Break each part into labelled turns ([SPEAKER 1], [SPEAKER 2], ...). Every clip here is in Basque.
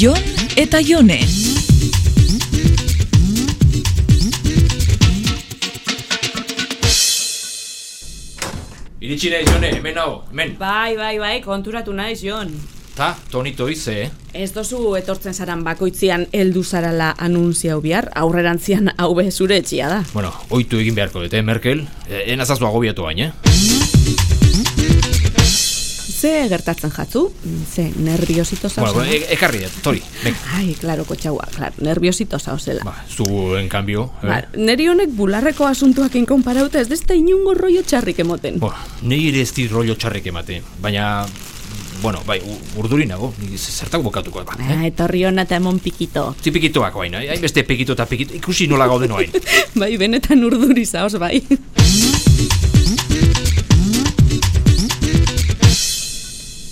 [SPEAKER 1] Jon eta Jone.
[SPEAKER 2] Iritsi nahi, Jone, hemen hau, hemen.
[SPEAKER 3] Bai, bai, bai, konturatu naiz, Jon.
[SPEAKER 2] Ta, tonito ize, eh?
[SPEAKER 3] Ez dozu etortzen zaran bakoitzean heldu zarala anuntzia bihar, aurrerantzian hau be zure etxia da.
[SPEAKER 2] Bueno, oitu egin beharko dut, eh, Merkel? E, Enazazu agobiatu baina, eh?
[SPEAKER 3] Ze gertatzen jatzu? Mm, Ze nerviosito zau
[SPEAKER 2] Bueno,
[SPEAKER 3] zela?
[SPEAKER 2] e, ekarri dut, tori, venga.
[SPEAKER 3] Ai, klaro, kotxaua, klaro, nerviosito zau zela.
[SPEAKER 2] eh. Ba, zu, en cambio, eh?
[SPEAKER 3] Ba, neri honek bularreko asuntuakin konparauta ez desta inungo rollo txarrik emoten.
[SPEAKER 2] Bo, nei ere ez dit rollo txarrik emate, baina... Bueno, bai, u- urduri nago, ni z- zertako bokatuko da.
[SPEAKER 3] Ah, etorri hona eta emon pikito.
[SPEAKER 2] Ti pikitoak oain, eh? hainbeste pikito eta pikito, ikusi nola gauden oain.
[SPEAKER 3] bai, benetan urduri zaoz, bai.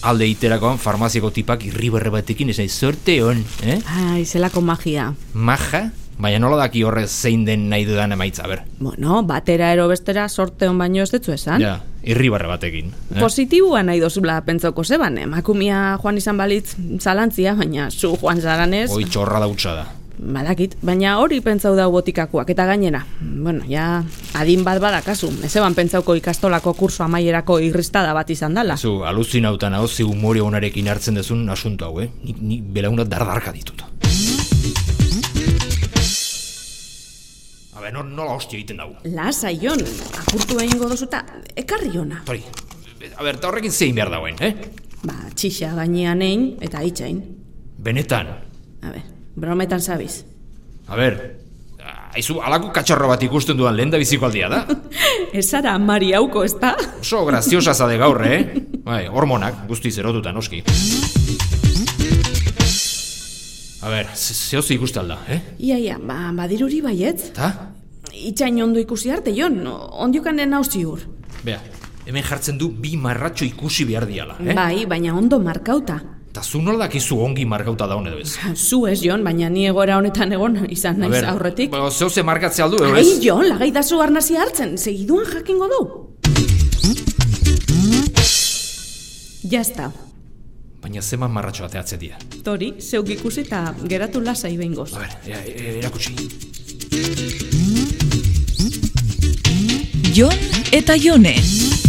[SPEAKER 2] Alde iterakoan farmaziako tipak irriberre batekin ez naiz zorte hon, eh?
[SPEAKER 3] Ai, zelako magia.
[SPEAKER 2] Maja, baina nola daki horrez zein den nahi dudan emaitza, ber.
[SPEAKER 3] Bueno, batera ero bestera sorte hon baino ez detzu esan.
[SPEAKER 2] Ja, irribarre batekin. Eh?
[SPEAKER 3] Positiboa nahi dozula pentsoko zeban, emakumia joan izan balitz zalantzia, baina zu joan zaranez,
[SPEAKER 2] Oi txorra dautza da.
[SPEAKER 3] badakit, baina hori pentsau dau botikakoak, eta gainera, bueno, ja, adin bat badakazu, ezeban pentsauko ikastolako kurso amaierako irristada bat izan dala.
[SPEAKER 2] Zu, aluzinautan hau ze humore onarekin hartzen dezun asunto hau, eh? Nik, nik belauna dardarka ditut. Habe, nor, nola hostia egiten dugu.
[SPEAKER 3] Lasa, Jon, apurtu egingo dozuta, ekarri ona.
[SPEAKER 2] Tori, a ber, eta horrekin zein behar dagoen, eh?
[SPEAKER 3] Ba, txixa gainean egin eta itxain.
[SPEAKER 2] Benetan.
[SPEAKER 3] A ber, brometan zabiz.
[SPEAKER 2] A ber, haizu, alako katxarro bat ikusten dudan lehen da biziko aldia da.
[SPEAKER 3] Ez zara amari hauko, ez da?
[SPEAKER 2] Oso graziosa zade gaur, eh? Bai, hormonak, guztiz erotuta noski. A ber, ze- zehoz ikuste alda, eh?
[SPEAKER 3] Ia, ia, ba, badiruri baietz.
[SPEAKER 2] Ta?
[SPEAKER 3] Itxain ondo ikusi arte, Jon, ondiokanen hauzi hur.
[SPEAKER 2] Bea, hemen jartzen du bi marratxo ikusi behar diala, eh?
[SPEAKER 3] Bai, baina ondo markauta.
[SPEAKER 2] Ta zu nola dakizu ongi markauta daun edo ez?
[SPEAKER 3] Zu ez, Jon, baina ni egoera honetan egon izan
[SPEAKER 2] A
[SPEAKER 3] naiz
[SPEAKER 2] ber,
[SPEAKER 3] aurretik.
[SPEAKER 2] Ba, zeo ze markatze aldu, edo
[SPEAKER 3] Ai,
[SPEAKER 2] ez?
[SPEAKER 3] Jon, lagai da zu arnazia hartzen, segiduan jakingo du. Jasta.
[SPEAKER 2] Baina zeman marratxo ateatzen dira.
[SPEAKER 3] Tori, zeuk ikusi eta geratu lasai behingoz.
[SPEAKER 2] A ber, ea, e- erakutsi.
[SPEAKER 1] Jon eta Jone.